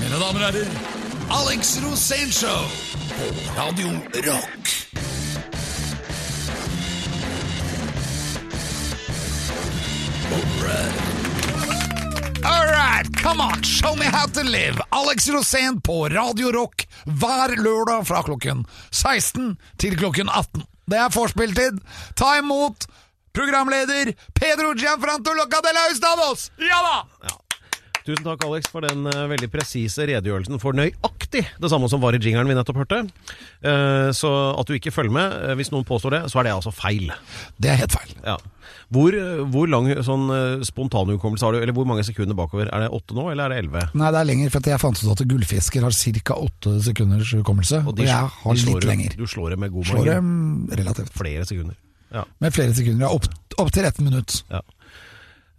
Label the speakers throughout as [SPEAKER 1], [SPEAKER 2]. [SPEAKER 1] Mine damer og herrer, Alex Rosénshow på Radio Rock. All right, come on, show me how to live. Alex Rosén på Radio Rock hver lørdag fra klokken 16 til klokken 18. Det er forspilltid. Ta imot programleder Pedro Gianfranto Locadella Ustados! Ja da!
[SPEAKER 2] Tusen takk, Alex, for den eh, veldig presise redegjørelsen for nøyaktig det samme som var i jingeren vi nettopp hørte. Eh, så at du ikke følger med, eh, hvis noen påstår det, så er det altså feil.
[SPEAKER 1] Det er helt feil.
[SPEAKER 2] Ja. Hvor, eh, hvor lang sånn eh, spontanhukommelse har du, eller hvor mange sekunder bakover? Er det åtte nå, eller er det elleve?
[SPEAKER 1] Nei, det er lenger, for at jeg fant ut at gullfisker har ca. åtte sekunders hukommelse. Og,
[SPEAKER 2] de-
[SPEAKER 1] jeg
[SPEAKER 2] de
[SPEAKER 1] har
[SPEAKER 2] slår
[SPEAKER 1] litt
[SPEAKER 2] dem-
[SPEAKER 1] lenger.
[SPEAKER 2] Du slår dem med god
[SPEAKER 1] Slår
[SPEAKER 2] mange.
[SPEAKER 1] dem relativt.
[SPEAKER 2] Flere sekunder. Ja.
[SPEAKER 1] Med flere sekunder. Ja, opp, opp til 13 minutt.
[SPEAKER 2] ja.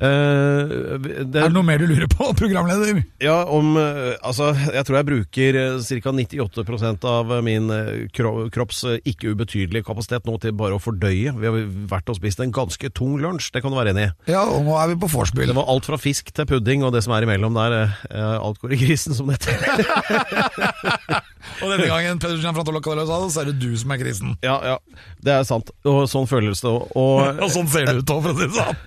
[SPEAKER 2] Eh, det,
[SPEAKER 1] Er det noe mer du lurer på, programleder?
[SPEAKER 2] Ja, om eh, Altså, jeg tror jeg bruker eh, ca. 98 av min eh, kro kropps eh, ikke ubetydelige kapasitet nå til bare å fordøye. Vi har vært og spist en ganske tung lunsj, det kan du være enig i.
[SPEAKER 1] Ja, og nå er vi på vorspiel.
[SPEAKER 2] Det var alt fra fisk til pudding og det som er imellom der. eh, Alt går i grisen, som det heter.
[SPEAKER 1] Og denne gangen Pedersen fra Tolokadelo sa det, så er det du som er krisen.
[SPEAKER 2] Ja, ja. Det er sant. Og sånn føles det òg. Og
[SPEAKER 1] Og sånn ser det ut òg, for å si det sånn.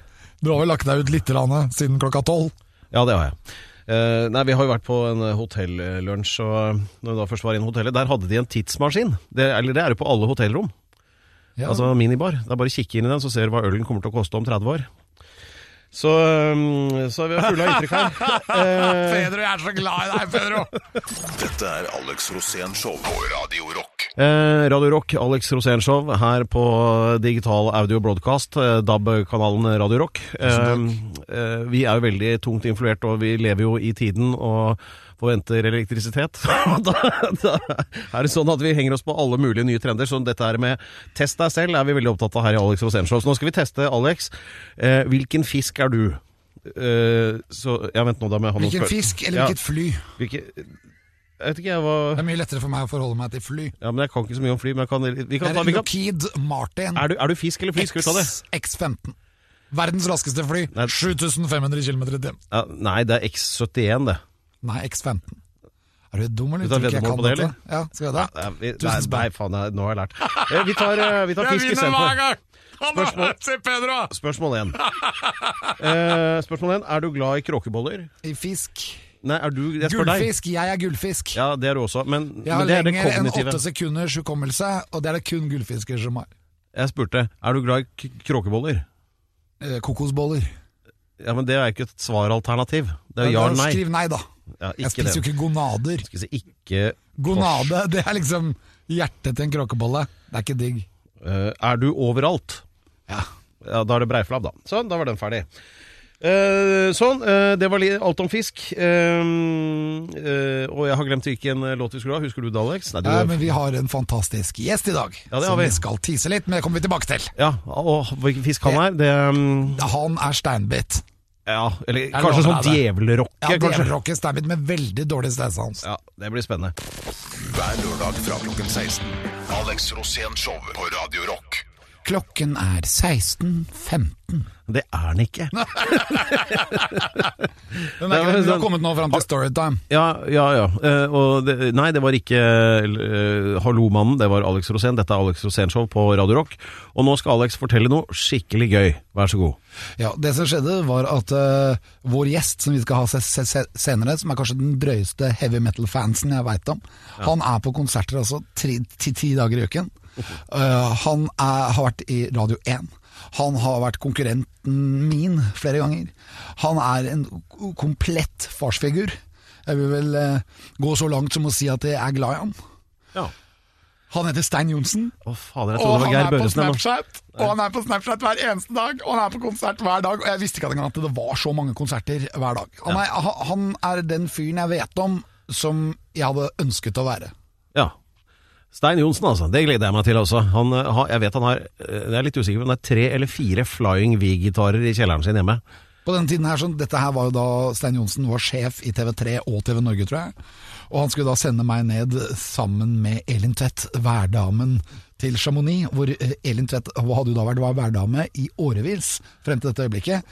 [SPEAKER 1] Du har vel lagt deg ut litt Rane, siden klokka tolv?
[SPEAKER 2] Ja, det har jeg. Eh, nei, Vi har jo vært på en eh, hotellunsj, og eh, når vi da først var inne i hotellet, der hadde de en tidsmaskin. Det, eller det er jo på alle hotellrom.
[SPEAKER 1] Ja.
[SPEAKER 2] Altså minibar. Det er bare å kikke inn i den, så ser du hva ølen kommer til å koste om 30 år. Så, øhm, så er vi fulle av inntrykk her.
[SPEAKER 1] Pedro, jeg er så glad i deg, Pedro!
[SPEAKER 3] Dette er Alex Rosén Show på Radio Rock.
[SPEAKER 2] Eh, Radio Rock, Alex Rosénshow her på digital audio broadcast, eh, DAB-kanalen Radio Rock. Eh, eh, vi er jo veldig tungt influert, og vi lever jo i tiden og forventer elektrisitet. Og da, da er det sånn at vi henger oss på alle mulige nye trender, så dette her med test deg selv er vi veldig opptatt av her i Alex Rosénshow. Så nå skal vi teste, Alex. Eh, hvilken fisk er du? Eh, så, ja, vent nå da må jeg ha noen
[SPEAKER 1] Hvilken
[SPEAKER 2] spør-
[SPEAKER 1] fisk, eller
[SPEAKER 2] Ja.
[SPEAKER 1] hvilket fly?
[SPEAKER 2] Hvilke, jeg vet ikke, jeg var
[SPEAKER 1] Det er mye lettere for meg å forholde meg til fly.
[SPEAKER 2] ja, men Jeg kan ikke så mye om fly, men jeg kan, vi kan
[SPEAKER 1] Det er
[SPEAKER 2] ta vi kan,
[SPEAKER 1] Lockheed Martin.
[SPEAKER 2] er du, er du fisk eller fly? Skal vi ta det?
[SPEAKER 1] X- X15. Verdens raskeste fly.
[SPEAKER 2] Nei.
[SPEAKER 1] 7500 km i timen.
[SPEAKER 2] Ja, nei, det er X71, det.
[SPEAKER 1] Nei, X15. Er du dum, eller?
[SPEAKER 2] Du
[SPEAKER 1] Tror ikke
[SPEAKER 2] tar
[SPEAKER 1] jeg
[SPEAKER 2] veddemål
[SPEAKER 1] kan
[SPEAKER 2] på det,
[SPEAKER 1] dette. Ja, skal vi
[SPEAKER 2] Nei,
[SPEAKER 1] det?
[SPEAKER 2] vi, nei,
[SPEAKER 1] Tusen spenn.
[SPEAKER 2] nei faen, nei, nå har jeg lært. Eh, Vi tar, eh, vi tar fisk istedenfor.
[SPEAKER 1] gang! Han
[SPEAKER 2] har Spørsmål.
[SPEAKER 1] seg, Pedro!
[SPEAKER 2] Spørsmål én. Eh, spørsmål én. Er du glad i kråkeboller?
[SPEAKER 1] I fisk.
[SPEAKER 2] Nei, er du Jeg spør deg.
[SPEAKER 1] Gullfisk. Jeg er gullfisk.
[SPEAKER 2] Ja, det er du også, men,
[SPEAKER 1] Jeg har
[SPEAKER 2] men det er det
[SPEAKER 1] lenger enn åtte
[SPEAKER 2] kognitive.
[SPEAKER 1] sekunders hukommelse, og det er det kun gullfisker som har.
[SPEAKER 2] Jeg spurte er du glad i k- kråkeboller.
[SPEAKER 1] Eh, Kokosboller.
[SPEAKER 2] Ja, men Det er ikke et svaralternativ. Det er ja
[SPEAKER 1] Da
[SPEAKER 2] eller nei.
[SPEAKER 1] Skriv nei, da.
[SPEAKER 2] Ja,
[SPEAKER 1] Jeg
[SPEAKER 2] ikke
[SPEAKER 1] spiser jo
[SPEAKER 2] det.
[SPEAKER 1] ikke gonader.
[SPEAKER 2] Skal vi si ikke
[SPEAKER 1] Gonade, det er liksom hjertet til en kråkebolle. Det er ikke digg.
[SPEAKER 2] Eh, Er du overalt?
[SPEAKER 1] Ja.
[SPEAKER 2] Ja, da er det breiflabb, da. Sånn, da var den ferdig. Eh, sånn, eh, det var li- alt om fisk. Eh, eh, og jeg har glemt hvilken eh, låt vi skulle ha. Husker du det, Alex? Nei, du,
[SPEAKER 1] Ja, men vi har en fantastisk gjest i dag,
[SPEAKER 2] Ja, det har
[SPEAKER 1] som
[SPEAKER 2] vi.
[SPEAKER 1] vi skal tise litt, men det kommer vi tilbake til.
[SPEAKER 2] ja, og hvilken fisk han er? Det mm,
[SPEAKER 1] Han er steinbit.
[SPEAKER 2] Ja, eller
[SPEAKER 1] det lov
[SPEAKER 2] kanskje sånn
[SPEAKER 1] å være
[SPEAKER 2] djevelrokke,
[SPEAKER 1] Ja,
[SPEAKER 2] kanskje.
[SPEAKER 1] Djevelrocken steinbit med veldig dårlig steinsans.
[SPEAKER 2] Ja, det blir spennende.
[SPEAKER 3] Hver lørdag fra klokken 16. Alex Rosén Show på Radio Rock.
[SPEAKER 1] Klokken er 16.15.
[SPEAKER 2] Det er han ikke.
[SPEAKER 1] Den
[SPEAKER 2] Det
[SPEAKER 1] er
[SPEAKER 2] er
[SPEAKER 1] ikke den, vi har
[SPEAKER 2] sånn-
[SPEAKER 1] kommet nå fram til Storytime.
[SPEAKER 2] Ja, ja, ja. Eh, og det, nei, det var ikke eh, Hallomannen, det var Alex Rosén. Dette er Alex Rosén-show på Radio Rock. Og nå skal Alex fortelle noe skikkelig gøy. Vær så god.
[SPEAKER 1] Ja, det som skjedde var at eh, vår gjest, som vi skal ha se se se senere, som er kanskje den drøyeste heavy metal-fansen jeg veit om, han er på konserter altså tri ti, ti dager i uken. Eh, han er, har vært i Radio 1. Han har vært konkurrenten min flere ganger. Han er en k- komplett farsfigur. Jeg vil vel eh, gå så langt som å si at jeg er glad i han.
[SPEAKER 2] Ja.
[SPEAKER 1] Han heter Stein Johnsen.
[SPEAKER 2] Å, fader, jeg
[SPEAKER 1] Og
[SPEAKER 2] trodde det var
[SPEAKER 1] han
[SPEAKER 2] Geir
[SPEAKER 1] er på
[SPEAKER 2] Børresen. jeg nå.
[SPEAKER 1] Snapchat Og han er på Snapchat hver eneste dag, og han er på konsert hver dag. Og jeg visste ikke engang at det var så mange konserter hver dag. Han er, ha- han er den fyren jeg vet om som jeg hadde ønsket å være.
[SPEAKER 2] Ja. Stein Johnsen, altså. Det gleder jeg meg til også. Han, eh, har, jeg vet han har eh, Jeg er litt usikker på om det er tre eller fire Flying V-gitarer i kjelleren sin hjemme.
[SPEAKER 1] På den tiden her, så Dette her var jo da Stein Johnsen var sjef i TV3 og TV Norge, tror jeg. Og han skulle da sende meg ned sammen med Elin Tvedt, værdamen til Chamonix. Hvor eh, Elin Tvedt hadde jo da vært var værdame i årevis frem til dette øyeblikket.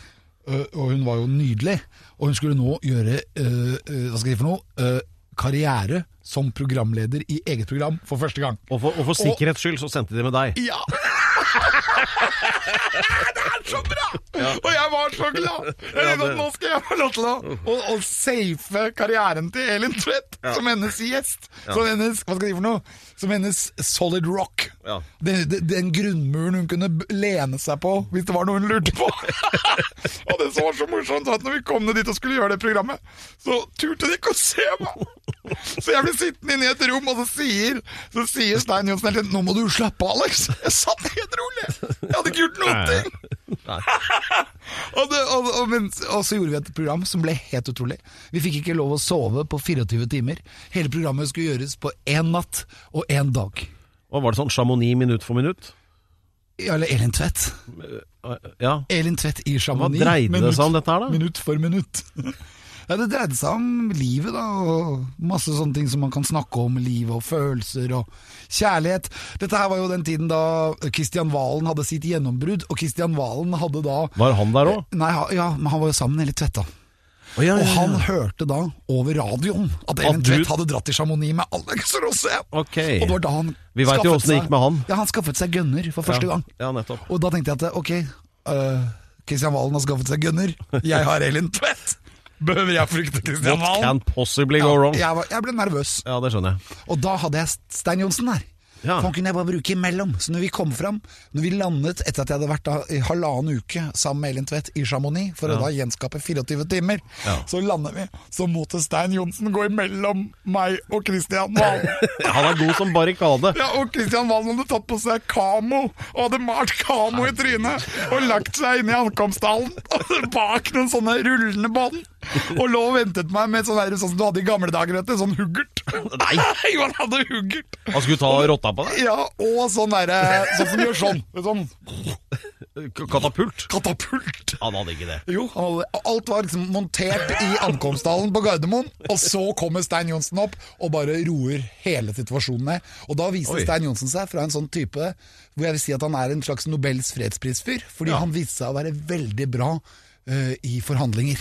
[SPEAKER 1] Eh, Og hun var jo nydelig. Og hun skulle nå gjøre eh, eh, Hva skal jeg si for noe? Eh, karriere som programleder i eget program for første gang.
[SPEAKER 2] Og for, og for sikkerhets skyld så sendte de med deg.
[SPEAKER 1] Ja! det er så bra! Og jeg var så glad! Jeg
[SPEAKER 2] Ja,
[SPEAKER 1] tenkte
[SPEAKER 2] det-
[SPEAKER 1] at nå skal jeg få lov til å, å, å safe karrieren til Elin Tvedt som hennes gjest. Som hennes hva skal jeg si for noe? Som hennes solid rock.
[SPEAKER 2] Ja.
[SPEAKER 1] Den, den- den grunnmuren hun kunne b- lene seg på hvis det var noe hun lurte på. og det som var så morsomt, var at når vi kom ned dit og skulle gjøre det programmet, så turte de ikke å se meg. Så jeg ble sittende inne i et rom, og så sier, så sier Stein Johnsen hele tiden 'Nå må du slappe av, Alex'. Jeg satt helt rolig. Jeg hadde ikke gjort noen
[SPEAKER 2] Nei.
[SPEAKER 1] ting. Og, det, og, og, men, og så gjorde vi et program som ble helt utrolig. Vi fikk ikke lov å sove på 24 timer. Hele programmet skulle gjøres på én natt og én dag.
[SPEAKER 2] Og var det sånn Chamonix minutt for minutt? Eh,
[SPEAKER 1] Ja, Eller Elin Tvedt.
[SPEAKER 2] Ja.
[SPEAKER 1] Elin Tvedt i Chamonix.
[SPEAKER 2] Hva dreide det
[SPEAKER 1] Minutt-
[SPEAKER 2] seg om dette her da?
[SPEAKER 1] Minutt for minutt. Ja, Det dreide seg om livet, da, og masse sånne ting som man kan snakke om. Livet og følelser og kjærlighet. Dette her var jo den tiden da Kristian Valen hadde sitt gjennombrudd, og Kristian Valen hadde da
[SPEAKER 2] Var han der òg?
[SPEAKER 1] Nei, ha- ja, men han var jo sammen med Elin Tvedt, da. Og han hørte da over radioen at Elin
[SPEAKER 2] du-
[SPEAKER 1] Tvedt hadde dratt til Chamonix med Alex Rosén.
[SPEAKER 2] Ok.
[SPEAKER 1] Og det var da han
[SPEAKER 2] Vi vet jo
[SPEAKER 1] skaffet
[SPEAKER 2] hvordan det
[SPEAKER 1] seg-
[SPEAKER 2] gikk med han.
[SPEAKER 1] Ja, han skaffet seg gønner for første gang.
[SPEAKER 2] Ja, nettopp.
[SPEAKER 1] Og da tenkte jeg at ok, øh, Kristian Valen har skaffet seg gønner. Jeg har Elin Tvedt. Behøver jeg frykte Kristian
[SPEAKER 2] What can
[SPEAKER 1] Valen?
[SPEAKER 2] possibly
[SPEAKER 1] Ja,
[SPEAKER 2] go wrong?
[SPEAKER 1] jeg, var, jeg ble nervøs,
[SPEAKER 2] Ja, det skjønner jeg.
[SPEAKER 1] og da hadde jeg Stein Johnsen der.
[SPEAKER 2] Ja.
[SPEAKER 1] For han kunne jeg bare bruke imellom. Så når vi kom fram, når vi landet etter at jeg hadde vært da i halvannen uke sammen med Elin Tvedt i Chamonix, for å da gjenskape 24 timer,
[SPEAKER 2] Ja.
[SPEAKER 1] så landet vi. Så måtte Stein Johnsen gå imellom meg og Kristian Valen.
[SPEAKER 2] Han er god som barrikade.
[SPEAKER 1] Ja, og Kristian Valen hadde tatt på seg kamo, og hadde malt kamo i trynet, og lagt seg inn i ankomsthallen og bak noen sånne rullende bånd, og lå og ventet meg med sånn der, sånn som du hadde i gamle dager, vet du, sånn huggert.
[SPEAKER 2] Nei.
[SPEAKER 1] Jo, han hadde huggert.
[SPEAKER 2] Han skulle ta rotta på deg.
[SPEAKER 1] Ja, og sånn derre Sånn som gjør sånn. Sånn
[SPEAKER 2] K- Katapult.
[SPEAKER 1] katapult.
[SPEAKER 2] Han hadde ikke det.
[SPEAKER 1] Jo, han hadde, alt var liksom montert i ankomsthallen på Gardermoen, og så kommer Stein Johnsen opp og bare roer hele situasjonen ned. Og da viser
[SPEAKER 2] Oi.
[SPEAKER 1] Stein Johnsen seg fra en sånn type hvor jeg vil si at han er en slags Nobels fredsprisfyr, fordi han viste seg å være veldig bra eh, i forhandlinger.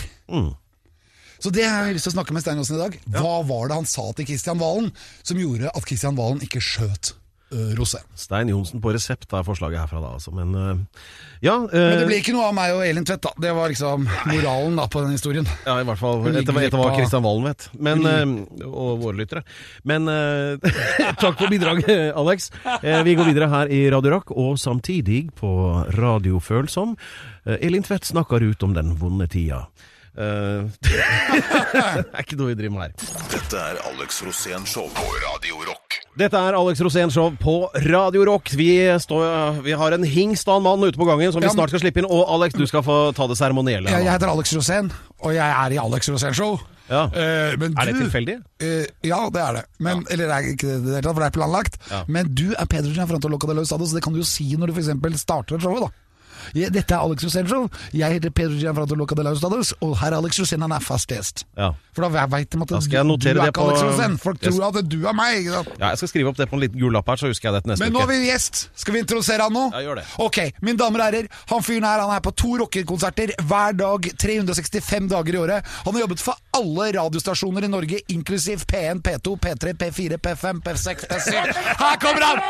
[SPEAKER 1] Så det har jeg lyst til å snakke med Stein Johnsen i dag. Hva var det han sa til Kristian Valen som gjorde at Kristian Valen ikke skjøt uh, Rosén?
[SPEAKER 2] Stein Johnsen på resept er forslaget herfra da, altså. Men øh, ja. øh,
[SPEAKER 1] Men det ble ikke noe av meg og Elin Tvedt, da. Det var liksom moralen da på den historien.
[SPEAKER 2] Ja, i hvert fall
[SPEAKER 1] ligger
[SPEAKER 2] etter, etter
[SPEAKER 1] litt
[SPEAKER 2] hva
[SPEAKER 1] på-
[SPEAKER 2] Kristian Valen vet. Men, eh, og våre lyttere. Men eh, takk for bidraget, Alex. Eh, vi går videre her i Radio Rock, og samtidig på Radio Følsom. Eh, Elin Tvedt snakker ut om den vonde tida. Eh, det er ikke noe vi driver med her.
[SPEAKER 3] Dette er Alex Rosén Show på Radio Rock.
[SPEAKER 2] Dette er Alex Rosén Show på Radio Rock. Vi, står, vi har en hingst av en mann ute på gangen som vi
[SPEAKER 1] Ja, men-
[SPEAKER 2] snart skal slippe inn. Og Alex, du skal få ta det seremonielle.
[SPEAKER 1] Jeg,
[SPEAKER 2] her
[SPEAKER 1] jeg
[SPEAKER 2] nå.
[SPEAKER 1] heter Alex Rosén, og jeg er i Alex Rosén-show.
[SPEAKER 2] Ja.
[SPEAKER 1] Eh, men
[SPEAKER 2] Er det
[SPEAKER 1] du-
[SPEAKER 2] tilfeldig?
[SPEAKER 1] Eh, ja, det er det. Men, Eller det er ikke det, i det, hele tatt, for det er planlagt.
[SPEAKER 2] Ja.
[SPEAKER 1] Men du er Pedersen fra Antoloca de Lausado, så det kan du jo si når du f.eks. starter showet. da Ja, dette er Alex Rosén-show. Jeg heter Peder Gian Frantoloca de Laustados, og herr Alex Rosén han er fast gjest.
[SPEAKER 2] Ja.
[SPEAKER 1] For da veit de at
[SPEAKER 2] Da skal jeg
[SPEAKER 1] du, du
[SPEAKER 2] notere
[SPEAKER 1] er
[SPEAKER 2] det
[SPEAKER 1] ikke Alex
[SPEAKER 2] på-
[SPEAKER 1] Rosén. Folk
[SPEAKER 2] Yes.
[SPEAKER 1] tror at du er meg. Ikke sant?
[SPEAKER 2] Ja, jeg skal skrive opp det på en liten gul lapp her, så husker jeg det til neste
[SPEAKER 1] Men nå
[SPEAKER 2] uke.
[SPEAKER 1] har vi gjest. Skal vi introdusere han nå?
[SPEAKER 2] Ja, gjør det.
[SPEAKER 1] Ok, mine damer og herrer. Han fyren her han er på to rockekonserter hver dag 365 dager i året. Han har jobbet for alle radiostasjoner i Norge, inklusiv P1, P2, P3, P4, P5, P6, P7. Her kommer han!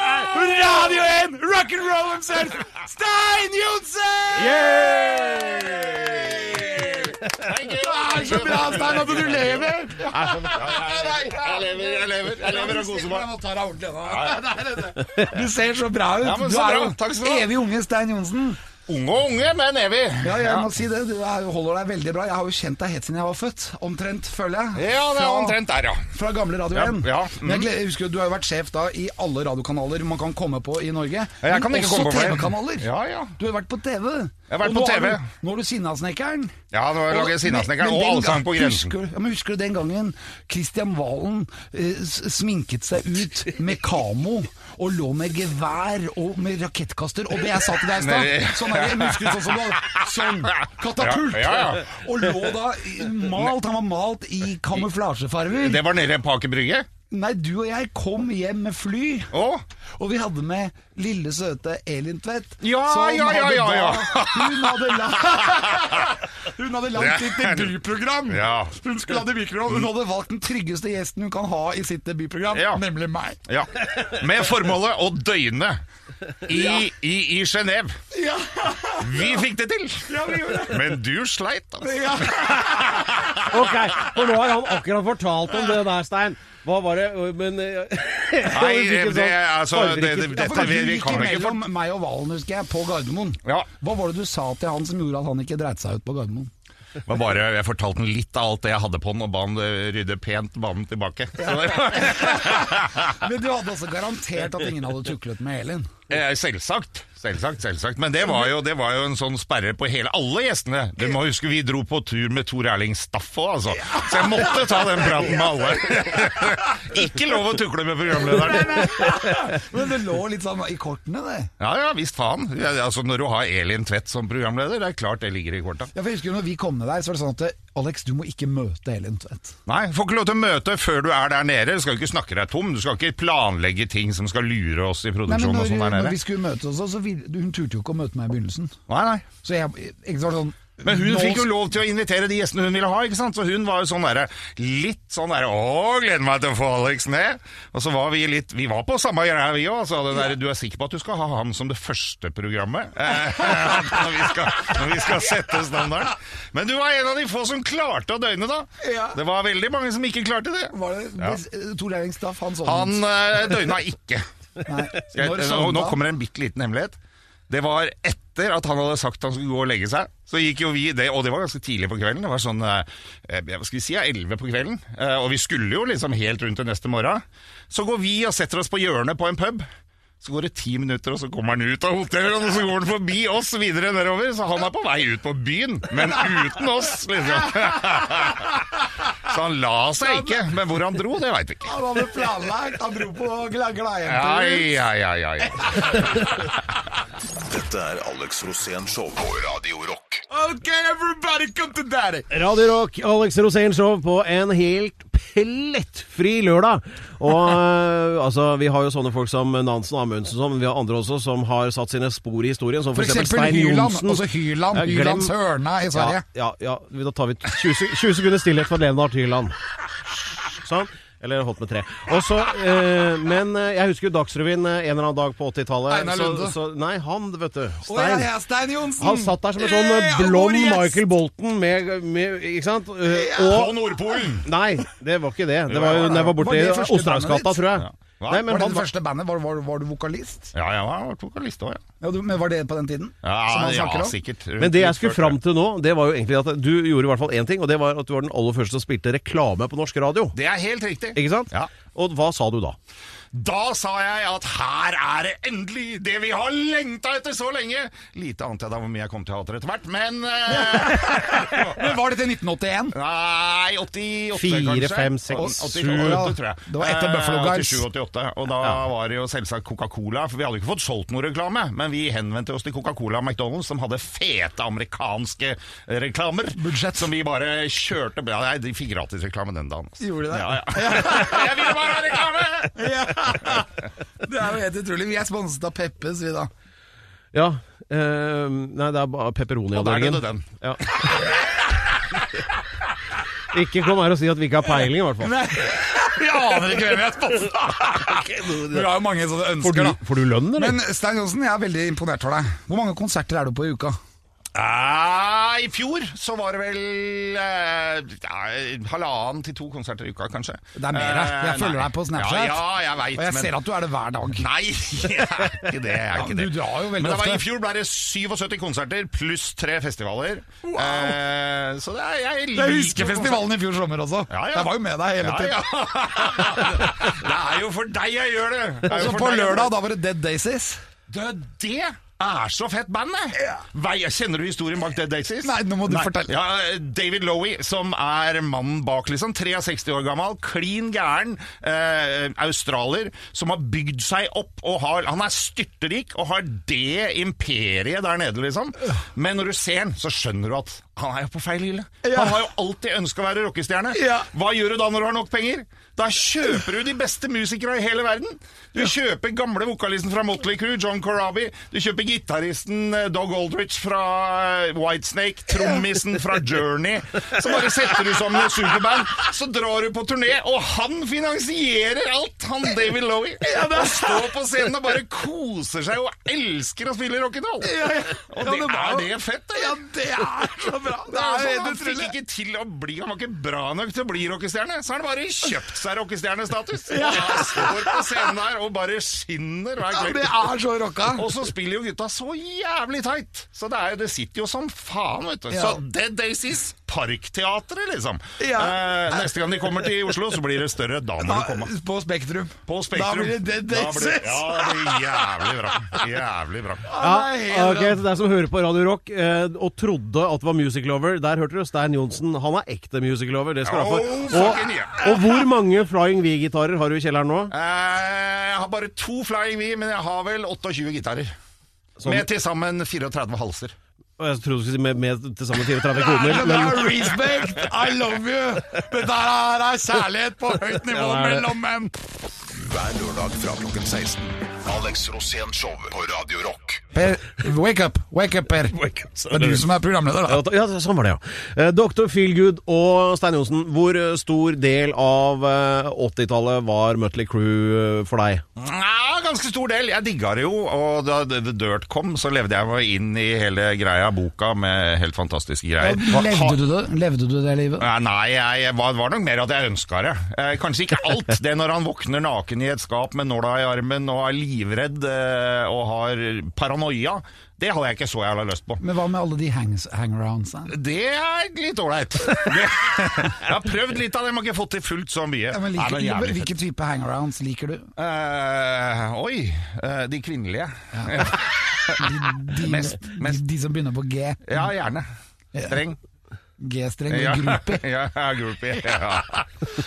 [SPEAKER 1] Radio 1, rock'n'roll himself, Stein Johnsen! Det er Ah, så bra, Stein, at du lever! Jeg lever, jeg lever. Jeg lever og koser meg. Nå tar jeg ordentlig nå. Det er det. Du ser så bra ut.
[SPEAKER 4] Ja, men
[SPEAKER 1] Du
[SPEAKER 4] så
[SPEAKER 1] er
[SPEAKER 4] bra.
[SPEAKER 1] jo
[SPEAKER 4] Takk skal du ha.
[SPEAKER 1] evig unge Stein Johnsen.
[SPEAKER 4] Unge og unge, men evig.
[SPEAKER 1] Ja, jeg må si det. Du er, holder deg veldig bra. Jeg har jo kjent deg helt siden jeg var født. Omtrent, føler jeg.
[SPEAKER 4] Ja, det er
[SPEAKER 1] Fra-
[SPEAKER 4] omtrent der, ja.
[SPEAKER 1] Fra gamle Radio 1.
[SPEAKER 4] ja, Mm.
[SPEAKER 1] Men jeg gleder- jeg husker jo, Du har jo vært sjef da i alle radiokanaler man kan komme på i Norge.
[SPEAKER 4] jeg kan
[SPEAKER 1] men
[SPEAKER 4] ikke
[SPEAKER 1] også
[SPEAKER 4] komme på flere.
[SPEAKER 1] TV-kanaler.
[SPEAKER 4] Ja, ja.
[SPEAKER 1] Du har vært på TV.
[SPEAKER 4] har vært
[SPEAKER 1] Og
[SPEAKER 4] på
[SPEAKER 1] nå er
[SPEAKER 4] TV.
[SPEAKER 1] du- Nå er du Sinnasnekkeren.
[SPEAKER 4] Ja, det var å lage Sinnasnekkeren
[SPEAKER 1] Men- men
[SPEAKER 4] og
[SPEAKER 1] den
[SPEAKER 4] Allsang på
[SPEAKER 1] gang-
[SPEAKER 4] grensen.
[SPEAKER 1] Husker, du- ja, men husker du den gangen Kristian Valen eh, s- sminket seg ut med kamo og lå med gevær og med rakettkaster, og det jeg sa til deg i
[SPEAKER 4] Nei.
[SPEAKER 1] stad Sånn er det, men husker du sånn som du hadde Sånn, katapult!
[SPEAKER 4] Ja, ja, ja.
[SPEAKER 1] Og lå da i- malt, han var malt i kamuflasjefarger.
[SPEAKER 4] Det var nede i Aker Brygge?
[SPEAKER 1] Nei, du og jeg kom hjem med fly,
[SPEAKER 4] Å?
[SPEAKER 1] og vi hadde med lille søte Elin Tvedt.
[SPEAKER 4] Ja,
[SPEAKER 1] som
[SPEAKER 4] ja, ja,
[SPEAKER 1] hadde
[SPEAKER 4] ja, ja.
[SPEAKER 1] da- Hun hadde, la, hun hadde langt sitt debutprogram.
[SPEAKER 4] Ja.
[SPEAKER 1] Hun skulle ha debutroll. Hun hadde valgt den tryggeste gjesten hun kan ha i sitt debutprogram,
[SPEAKER 4] Ja.
[SPEAKER 1] nemlig meg.
[SPEAKER 4] Ja. Med formålet å døgne i, i, i Genéve.
[SPEAKER 1] Ja,
[SPEAKER 4] Vi fikk det til!
[SPEAKER 1] ja, vi gjorde det.
[SPEAKER 4] Men du sleit, altså.
[SPEAKER 1] Ja.
[SPEAKER 2] Ok, for nå har han akkurat fortalt om det der, Stein. Hva var det Men eh,
[SPEAKER 4] Nei,
[SPEAKER 2] vi fikk en
[SPEAKER 4] det,
[SPEAKER 2] sånn
[SPEAKER 4] altså, det,
[SPEAKER 1] Ja,
[SPEAKER 2] fargerike-
[SPEAKER 4] det, dette
[SPEAKER 1] for
[SPEAKER 4] vi,
[SPEAKER 1] du
[SPEAKER 4] vi
[SPEAKER 1] gikk
[SPEAKER 4] kan vi ikke for...
[SPEAKER 1] mellom meg og Valen, husker jeg, på Gardermoen.
[SPEAKER 4] Ja.
[SPEAKER 1] Hva var det du sa til han som gjorde at han ikke dreit seg ut på Gardermoen?
[SPEAKER 4] Men bare, jeg fortalte han litt av alt det jeg hadde på han, og ba han eh, rydde pent banen tilbake. Så det var-
[SPEAKER 1] Men du hadde også garantert at ingen hadde tuklet med Elin.
[SPEAKER 4] Eh, Selvsagt. Selvsagt, selvsagt. Men det var, jo, det var jo en sånn sperre på hele alle gjestene. Du må huske vi dro på tur med Tor Erling Staff òg, altså. Så jeg måtte ta den praten med alle. Ikke lov å tukle med programlederen.
[SPEAKER 1] Men det lå litt sånn i kortene, det.
[SPEAKER 4] Ja ja, visst faen. Ja, altså, når du har Elin Tvedt som programleder, det er klart det ligger i korta.
[SPEAKER 1] Ja, for jeg husker jo når vi kom ned der, så var det sånn at Alex, du må ikke møte Elin Tvedt.
[SPEAKER 4] Nei, får ikke lov til å møte før du er der nede. Du skal ikke snakke deg tom. Du skal ikke planlegge ting som skal lure oss i
[SPEAKER 1] Nei, men
[SPEAKER 4] produksjonen og
[SPEAKER 1] når,
[SPEAKER 4] sånn der
[SPEAKER 1] når
[SPEAKER 4] nede.
[SPEAKER 1] vi skulle møtes også, så vil, hun turte jo ikke å møte meg i begynnelsen.
[SPEAKER 4] Nei, nei.
[SPEAKER 1] Så jeg, ikke så var det sånn
[SPEAKER 4] Men hun
[SPEAKER 1] nå
[SPEAKER 4] fikk jo lov til å invitere de gjestene hun ville ha, ikke sant? Så hun var jo sånn derre litt sånn derre Å, gleder meg til å få Alex ned! Og så var vi litt Vi var på samme greia, vi òg. Altså, det der, du er sikker på at du skal ha ham som det første programmet? Eh, når, vi skal, når vi skal sette standarden. Men du var en av de få som klarte å døgne, da.
[SPEAKER 1] Ja.
[SPEAKER 4] Det var veldig mange som ikke klarte det.
[SPEAKER 1] Var det
[SPEAKER 4] Ja.
[SPEAKER 1] ja. Tor Leiring Staff, han sånn
[SPEAKER 4] Han eh, døgna ikke.
[SPEAKER 1] Nei. Når
[SPEAKER 4] Skal jeg, eh, nå,
[SPEAKER 1] sovna
[SPEAKER 4] nå
[SPEAKER 1] han?
[SPEAKER 4] kommer det en bitte liten hemmelighet. Det var etter at han hadde sagt han skulle gå og legge seg. Så gikk jo vi det, og det var ganske tidlig på kvelden. Det var sånn eh, eh, hva skal vi si, elleve på kvelden. Eh, Og vi skulle jo liksom helt rundt til neste morgen. Så går vi og setter oss på hjørnet på en pub. Så går det ti minutter, og så kommer han ut av hotellet, og så går han forbi oss videre nedover. Så han er på vei ut på byen, men uten oss, liksom. Så han la seg ikke. Men hvor han dro, det veit vi ikke.
[SPEAKER 1] Han hadde planlagt, han dro på gla-
[SPEAKER 4] Ja,
[SPEAKER 1] gladjenter.
[SPEAKER 4] ja, ja, ja, ja.
[SPEAKER 3] Dette er Alex Rosén Show på Radio Rock.
[SPEAKER 2] Radio Rock, Alex Rosén Show på en helt pellettfri lørdag. Og eh, altså, vi har jo sånne folk som Nansen og Amundsen og sånn, men vi har andre også som har satt sine spor i historien, som
[SPEAKER 1] For
[SPEAKER 2] for,
[SPEAKER 1] eksempel Hyland, altså Hyland,
[SPEAKER 2] Ja, glem-
[SPEAKER 1] Hylands hørne i
[SPEAKER 2] Ja,
[SPEAKER 1] Sverige.
[SPEAKER 2] ja, ja, da tar vi 20, sek- 20 sekunder stillhet for Leonard Hyland. Sånn. Eller holdt med tre. Og så, eh, men eh, jeg husker jo Dagsrevyen eh, en eller annen dag på 80-tallet.
[SPEAKER 1] Einar
[SPEAKER 2] så-
[SPEAKER 1] Lunde.
[SPEAKER 2] så- Nei, han, vet du.
[SPEAKER 1] Å,
[SPEAKER 2] Stein.
[SPEAKER 1] ja, ja, Stein Johnsen!
[SPEAKER 2] Han satt der som en sånn eh, blond Michael Bolton med, med Ikke sant? Eh,
[SPEAKER 4] På
[SPEAKER 2] Og
[SPEAKER 4] Nordpolen!
[SPEAKER 2] Nei, det var ikke det. Det var jo når jeg var
[SPEAKER 1] Var
[SPEAKER 2] borte i
[SPEAKER 1] det første
[SPEAKER 2] Osterhagsgata,
[SPEAKER 1] bandet ditt?
[SPEAKER 2] tror jeg.
[SPEAKER 4] Hva?
[SPEAKER 2] Nei,
[SPEAKER 1] Var
[SPEAKER 2] men
[SPEAKER 1] det
[SPEAKER 2] han
[SPEAKER 1] det
[SPEAKER 2] var
[SPEAKER 1] første bandet? Var, var, var du vokalist?
[SPEAKER 4] Ja, jeg var vokalist òg, ja.
[SPEAKER 1] Ja, du, men Var det på den tiden? som han snakker om?
[SPEAKER 4] sikkert.
[SPEAKER 2] men det jeg skulle fram til nå, det var jo egentlig at du gjorde i hvert fall én ting, og det var at du var den aller første som spilte reklame på norsk radio.
[SPEAKER 4] Det er helt riktig.
[SPEAKER 2] Ikke sant?
[SPEAKER 4] Ja.
[SPEAKER 2] Og hva sa du da?
[SPEAKER 4] Da sa jeg at her er det endelig det vi har lengta etter så lenge! Lite ante jeg da hvor mye jeg kom til å hate det etter hvert, men eh,
[SPEAKER 1] Men Var dette 1981?
[SPEAKER 4] Nei, 88
[SPEAKER 2] Fire,
[SPEAKER 4] kanskje.
[SPEAKER 2] fem, seks,
[SPEAKER 4] 88, tror jeg. Eh,
[SPEAKER 1] Det var etter Buffalo Guys.
[SPEAKER 4] 87-88, og da var det jo selvsagt Coca-Cola, for vi hadde jo ikke fått solgt noe reklame, men vi henvendte oss til Coca-Cola og McDonald's, som hadde fete amerikanske reklamer.
[SPEAKER 1] Budsjett.
[SPEAKER 4] Som vi bare kjørte Ja, nei, de fikk gratis reklame den dagen. altså.
[SPEAKER 1] Gjorde de det?
[SPEAKER 4] Ja, ja. jeg ville bare ha reklame!
[SPEAKER 1] Ja. Det er jo helt utrolig. Vi er sponset av Peppes, vi da.
[SPEAKER 2] Ja eh, Nei, det er bare
[SPEAKER 4] Og der
[SPEAKER 2] pepperoniavdelingen.
[SPEAKER 4] døde den.
[SPEAKER 2] Ja. Ikke kom her og si at vi ikke har peiling, i hvert fall.
[SPEAKER 4] Vi aner ikke hvem jeg sponsa!
[SPEAKER 1] Vi har jo mange sånne
[SPEAKER 2] Får
[SPEAKER 1] ønsker,
[SPEAKER 2] du,
[SPEAKER 1] da.
[SPEAKER 2] får du lønn, eller?
[SPEAKER 1] Men Stein Johnsen, jeg er veldig imponert over deg. Hvor mange konserter er du på i uka?
[SPEAKER 4] Ah, I fjor så var det vel eh, ja, halvannen til to konserter i uka, kanskje.
[SPEAKER 1] Det er mer, jeg. Jeg
[SPEAKER 4] Eh,
[SPEAKER 1] følger
[SPEAKER 4] nei.
[SPEAKER 1] deg på Snapchat.
[SPEAKER 4] Ja, ja jeg vet,
[SPEAKER 1] Og jeg
[SPEAKER 4] men-
[SPEAKER 1] ser at du er det hver dag.
[SPEAKER 4] Nei, jeg er ikke det. Jeg er
[SPEAKER 1] Ja,
[SPEAKER 4] ikke
[SPEAKER 1] du
[SPEAKER 4] det.
[SPEAKER 1] drar jo veldig
[SPEAKER 4] Men det var,
[SPEAKER 1] ofte.
[SPEAKER 4] i fjor ble det 77 konserter pluss tre festivaler. Eh, så det er, jeg
[SPEAKER 1] Jeg
[SPEAKER 4] liker
[SPEAKER 1] husker festivalen i fjor sommer også.
[SPEAKER 4] Ja, ja.
[SPEAKER 1] Jeg var jo med deg hele
[SPEAKER 4] Ja,
[SPEAKER 1] tiden.
[SPEAKER 4] ja. det er jo for deg jeg gjør det! det er
[SPEAKER 1] Så
[SPEAKER 4] jo for
[SPEAKER 1] Altså, på
[SPEAKER 4] deg jeg-
[SPEAKER 1] lørdag, da var det Dead Daisies.
[SPEAKER 4] Det, det er så fett band, det! Vei, Kjenner du historien bak Dead Daisies?
[SPEAKER 1] Nei, nå må du fortelle.
[SPEAKER 4] Ja, David Lowie, som er mannen bak, liksom. 63 år gammel, klin gæren. Eh, australier som har bygd seg opp. og har, Han er styrterik og har det imperiet der nede, liksom. Men når du ser han, så skjønner du at han er jo på feil hylle.
[SPEAKER 2] Ja.
[SPEAKER 4] Han har jo alltid ønska å være rockestjerne.
[SPEAKER 2] Ja.
[SPEAKER 4] Hva gjør du da når du har nok penger? Da kjøper du de beste musikere i hele verden. Du kjøper gamle vokalisten fra Motley Crue, John Corabi. Du kjøper gitaristen eh, Dog Aldrich fra eh, Whitesnake. Trommisen fra Journey. Så bare setter du sammen et superband, så drar du på turné, og han finansierer alt, han David Lowie. Og står på scenen og bare koser seg og elsker å spille rock'n'roll. Og det,
[SPEAKER 2] Ja, det var
[SPEAKER 4] er
[SPEAKER 2] jo-
[SPEAKER 4] det fett, da?
[SPEAKER 2] Ja, det er så bra!
[SPEAKER 4] Det er jo sånn, han
[SPEAKER 2] helt
[SPEAKER 4] fikk
[SPEAKER 2] utrolig.
[SPEAKER 4] ikke til å bli Han var ikke bra nok til å bli rockestjerne, så han bare kjøpt seg rockestjernestatus. Og han står på scenen der og bare skinner hver
[SPEAKER 2] Ja,
[SPEAKER 4] kveld.
[SPEAKER 2] det er så rocka!
[SPEAKER 4] Og så spiller jo gutta så jævlig tight! Så det, er jo, det sitter jo som faen, vet du.
[SPEAKER 1] Ja.
[SPEAKER 4] Så Dead Daisies, Parkteatret, liksom.
[SPEAKER 2] Ja.
[SPEAKER 4] Eh, neste gang de kommer til Oslo, så blir det større. Da må de komme.
[SPEAKER 2] på Spektrum.
[SPEAKER 4] På Spektrum.
[SPEAKER 2] Da blir det Dead
[SPEAKER 4] Da
[SPEAKER 2] Daisies!
[SPEAKER 4] blir- Ja, det blir jævlig bra. Jævlig bra.
[SPEAKER 2] Ja,
[SPEAKER 1] det er
[SPEAKER 2] ok, til deg som hører på Radio Rock eh, og trodde at det var Music Lover, der hørte du Stein Johnsen. Han er ekte Music Lover, det skal du ha
[SPEAKER 4] Oh,
[SPEAKER 2] for.
[SPEAKER 4] fucking
[SPEAKER 2] Og,
[SPEAKER 4] yeah.
[SPEAKER 2] og hvor mange Flying V-gitarer har du i kjelleren nå?
[SPEAKER 4] Eh, Jeg har bare to Flying V, men jeg har vel 28 gitarer.
[SPEAKER 2] Som,
[SPEAKER 4] Med til sammen 34 halser.
[SPEAKER 2] og jeg trodde du skulle si med, med til sammen 34
[SPEAKER 1] Det
[SPEAKER 2] kroner. Men,
[SPEAKER 1] er sånn respect! I love you! Dette her er kjærlighet på høyt nivå
[SPEAKER 2] Ja, det er det.
[SPEAKER 1] mellom menn.
[SPEAKER 3] Hver lørdag fra klokken 16. Alex Rosén-show på Radio Rock.
[SPEAKER 1] Per, wake up, wake up, Per.
[SPEAKER 2] Wake up, sa
[SPEAKER 1] Det er du
[SPEAKER 2] du.
[SPEAKER 1] som er programleder, da.
[SPEAKER 2] ja, ta- ja, sånn var det, ja. Eh, Dr. Feelgood og Stein Johnsen, hvor eh, stor del av eh, 80-tallet var Mutley Crew eh, for deg?
[SPEAKER 4] Ja, ganske stor del. Jeg digga det jo. Og da The The Dirt kom, så levde jeg meg inn i hele greia, boka, med helt fantastiske greier.
[SPEAKER 1] Levde du det, levde du det livet?
[SPEAKER 4] Ja, Eh, Nei, jeg jeg var, var nok mer at jeg ønska det. Eh, kanskje ikke alt. Det når han våkner naken i et skap med nåla i armen og er livredd eh, og har paranoia, det hadde jeg ikke så jævla lyst på.
[SPEAKER 1] Men hva med alle de hangs, hangaroundsene?
[SPEAKER 4] Det er litt ålreit. Det- Jeg har prøvd litt av det, men har ikke fått til fullt så mye.
[SPEAKER 1] Ja, men
[SPEAKER 4] Nei,
[SPEAKER 1] liker,
[SPEAKER 4] men jævlig fett.
[SPEAKER 1] hvilken type hangarounds liker du?
[SPEAKER 4] Eh, oi, eh, de kvinnelige.
[SPEAKER 1] De,
[SPEAKER 4] Mest, mest.
[SPEAKER 1] De, de som begynner på G.
[SPEAKER 4] Ja, gjerne. Streng.
[SPEAKER 1] G-streng
[SPEAKER 4] Ja,
[SPEAKER 1] og groupie.
[SPEAKER 4] ja, ja, groupie. Ja.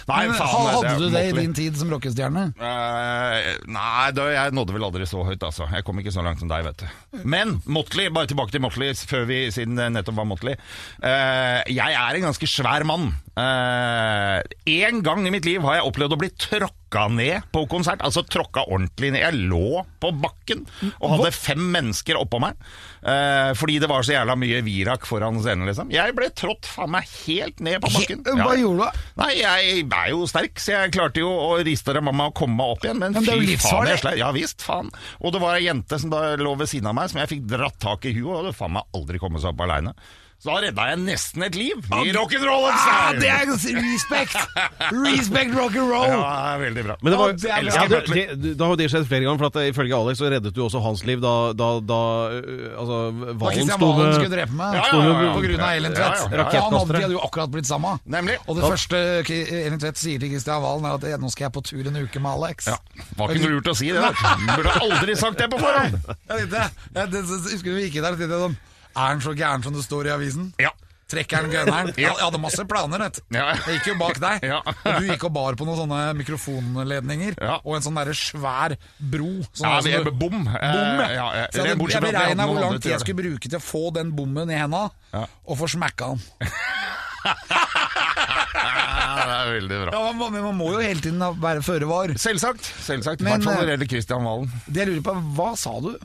[SPEAKER 4] Nei,
[SPEAKER 1] Men,
[SPEAKER 4] faen,
[SPEAKER 1] ha-
[SPEAKER 4] det
[SPEAKER 1] hadde
[SPEAKER 4] er
[SPEAKER 1] du det i
[SPEAKER 4] måttelig.
[SPEAKER 1] din tid som rockestjerne?
[SPEAKER 4] Eh, nei, da, jeg nådde vel aldri så høyt, altså. Jeg kom ikke så langt som deg, vet du. Men Motley, bare tilbake til Motley, før vi, siden det nettopp var Motley. Eh, jeg er en ganske svær mann. Én gang i mitt liv har jeg opplevd å bli tråkka ned på konsert. Altså tråkka ordentlig ned. Jeg lå på bakken og hadde fem mennesker oppå meg. eh, fordi det var så jævla mye virak foran scenen, liksom. Jeg ble trådt faen meg helt ned på bakken.
[SPEAKER 1] Hva
[SPEAKER 4] Ja.
[SPEAKER 1] gjorde du?
[SPEAKER 4] Nei, jeg er jo sterk, så jeg klarte jo å riste av mamma og komme meg opp igjen. Men,
[SPEAKER 1] Men det er jo
[SPEAKER 4] fy faen,
[SPEAKER 1] livsfarlig.
[SPEAKER 4] jeg sleit. Ja visst, faen. Og det var ei jente som da lå ved siden av meg, som jeg fikk dratt tak i huet, og det faen meg aldri kommet seg opp aleine. Så da redda jeg nesten et liv. I altså! rock'n'rollen!
[SPEAKER 1] Ah,
[SPEAKER 4] sa jeg.
[SPEAKER 1] det er respect! Respect rock and roll!
[SPEAKER 4] Ja, veldig bra.
[SPEAKER 2] Men det var,
[SPEAKER 1] Ja, det er bra.
[SPEAKER 2] ja,
[SPEAKER 4] Elsker
[SPEAKER 2] det,
[SPEAKER 4] Mutley.
[SPEAKER 2] det, det, da har jo det skjedd flere ganger, for at eh, ifølge Alex så reddet du også hans liv da, da, da eh, altså,
[SPEAKER 1] Da
[SPEAKER 2] Valen
[SPEAKER 1] Kristian
[SPEAKER 2] sto
[SPEAKER 1] Valen skulle
[SPEAKER 2] med
[SPEAKER 1] drepe meg
[SPEAKER 4] Ja, ja,
[SPEAKER 1] sto
[SPEAKER 4] ja,
[SPEAKER 1] med-
[SPEAKER 4] ja.
[SPEAKER 1] på grunn av Elin Tvedt.
[SPEAKER 4] Ja,
[SPEAKER 2] ja, ja.
[SPEAKER 1] Han hadde,
[SPEAKER 2] Rakettkastere.
[SPEAKER 1] de hadde jo akkurat blitt sammen.
[SPEAKER 4] Nemlig.
[SPEAKER 1] Og det første K- Elin Tvedt sier til Kristian Valen, er at «Ja, nå skal jeg på tur en uke med Alex.
[SPEAKER 4] Ja, Var ikke noe lurt å si det. da. Burde aldri sagt det på forhånd.
[SPEAKER 1] Jeg tenkte, jeg, det, så- så husker du vi gikk inn der og tenkte sånn Er han så gæren som det står i avisen?
[SPEAKER 4] Ja.
[SPEAKER 1] Trekker han gønneren? Jeg jeg hadde masse planer, vet du.
[SPEAKER 4] Ja.
[SPEAKER 1] Jeg gikk jo bak deg.
[SPEAKER 4] Ja.
[SPEAKER 1] Og du gikk og bar på noen sånne mikrofonledninger.
[SPEAKER 4] Ja.
[SPEAKER 1] Og en sånn derre svær bro. Sånn
[SPEAKER 4] Ja,
[SPEAKER 1] som
[SPEAKER 4] jeg-
[SPEAKER 1] du-
[SPEAKER 4] bom. Eh,
[SPEAKER 1] Bom,
[SPEAKER 4] ja, ja.
[SPEAKER 1] Så jeg,
[SPEAKER 4] Bortsett
[SPEAKER 1] jeg
[SPEAKER 4] fra at jeg hadde
[SPEAKER 1] beregna hvor
[SPEAKER 4] noen
[SPEAKER 1] lang
[SPEAKER 4] andre til
[SPEAKER 1] tid
[SPEAKER 4] å
[SPEAKER 1] jeg
[SPEAKER 4] gjøre
[SPEAKER 1] skulle bruke til å få den bommen i henda,
[SPEAKER 4] Ja.
[SPEAKER 1] og få smekka den.
[SPEAKER 4] Ja, det er veldig bra.
[SPEAKER 1] Ja, man, men man må jo hele tiden ha- være føre var.
[SPEAKER 4] Selvsagt. selvsagt. I
[SPEAKER 1] Men,
[SPEAKER 4] hvert fall når
[SPEAKER 1] eh,
[SPEAKER 4] det gjelder Kristian Valen.
[SPEAKER 1] Det jeg lurer på, er, hva sa du?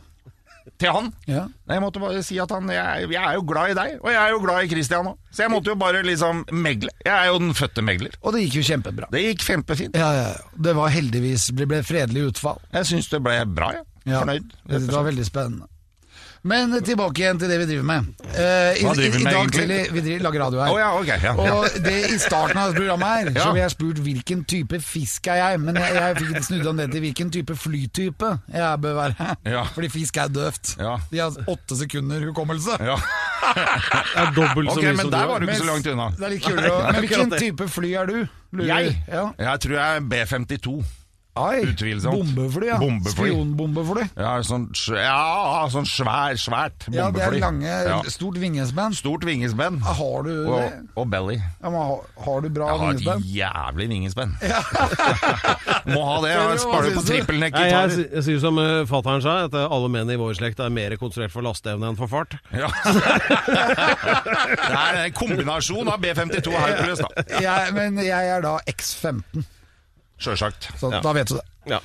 [SPEAKER 4] Til han.
[SPEAKER 1] Ja.
[SPEAKER 4] Nei, Jeg måtte bare si at han, jeg, jeg er jo glad i deg, og jeg er jo glad i Christian òg. Så jeg måtte jo bare liksom megle. Jeg er jo den fødte megler.
[SPEAKER 1] Og det gikk jo kjempebra.
[SPEAKER 4] Det gikk kjempefint.
[SPEAKER 1] Ja, ja, ja. Det var heldigvis det ble fredelig utfall.
[SPEAKER 4] Jeg syns det ble bra, jeg.
[SPEAKER 1] Ja,
[SPEAKER 4] Fornøyd.
[SPEAKER 1] Det var veldig spennende. Men tilbake igjen til det vi driver med. Eh, i,
[SPEAKER 4] Hva
[SPEAKER 1] i,
[SPEAKER 4] driver vi
[SPEAKER 1] i
[SPEAKER 4] med
[SPEAKER 1] dag
[SPEAKER 4] egentlig?
[SPEAKER 1] tidlig vi driver, lager radio her.
[SPEAKER 4] Å ja, ok. Ja, ja.
[SPEAKER 1] Og det, I starten av dette programmet her
[SPEAKER 4] Ja.
[SPEAKER 1] Så ville jeg spurt hvilken type fisk er jeg, men jeg, jeg fikk ikke snudd om det til hvilken type flytype jeg bør være.
[SPEAKER 4] Ja.
[SPEAKER 1] Fordi fisk er døvt.
[SPEAKER 4] Ja.
[SPEAKER 1] De har åtte sekunder hukommelse.
[SPEAKER 4] ja.
[SPEAKER 2] er dobbelt så
[SPEAKER 4] Ok,
[SPEAKER 2] mye
[SPEAKER 4] men
[SPEAKER 2] som
[SPEAKER 4] der var du
[SPEAKER 2] Men-
[SPEAKER 4] ikke så langt unna.
[SPEAKER 1] Det er litt kulere å Men
[SPEAKER 2] akkurat
[SPEAKER 1] hvilken
[SPEAKER 2] det.
[SPEAKER 1] type fly er du? Lurer.
[SPEAKER 4] Jeg?
[SPEAKER 1] Ja.
[SPEAKER 4] Jeg tror jeg er B-52.
[SPEAKER 1] Ai,
[SPEAKER 4] Utvilsomt.
[SPEAKER 1] Bombefly, ja.
[SPEAKER 4] Bombefly.
[SPEAKER 1] Spionbombefly.
[SPEAKER 4] Ja, sånn, sv- ja, sånn svær, svært bombefly.
[SPEAKER 1] Ja, det er lange,
[SPEAKER 4] Ja.
[SPEAKER 1] stort vingespenn.
[SPEAKER 4] Stort vingespenn.
[SPEAKER 1] Har du
[SPEAKER 4] Og,
[SPEAKER 1] det?
[SPEAKER 4] og belly.
[SPEAKER 1] Ja, men har, har du bra
[SPEAKER 4] Jeg har
[SPEAKER 1] vingespenn?
[SPEAKER 4] et jævlig vingespenn. Må ha det.
[SPEAKER 1] Hva
[SPEAKER 4] Jeg
[SPEAKER 1] synes
[SPEAKER 4] sparer på
[SPEAKER 1] du?
[SPEAKER 2] Nei, jeg,
[SPEAKER 4] trippelnekkgitarer.
[SPEAKER 2] si- jeg sier som uh, fatter'n sa, at eh, alle menn i vår slekt er mer konstruert for lasteevne enn for fart.
[SPEAKER 4] Ja. Det er en kombinasjon av B52 og Hercules, da.
[SPEAKER 1] Jeg, men jeg er da X15,
[SPEAKER 4] Sjølsagt.
[SPEAKER 1] så
[SPEAKER 2] Ja.
[SPEAKER 1] da vet du det.
[SPEAKER 2] Ja.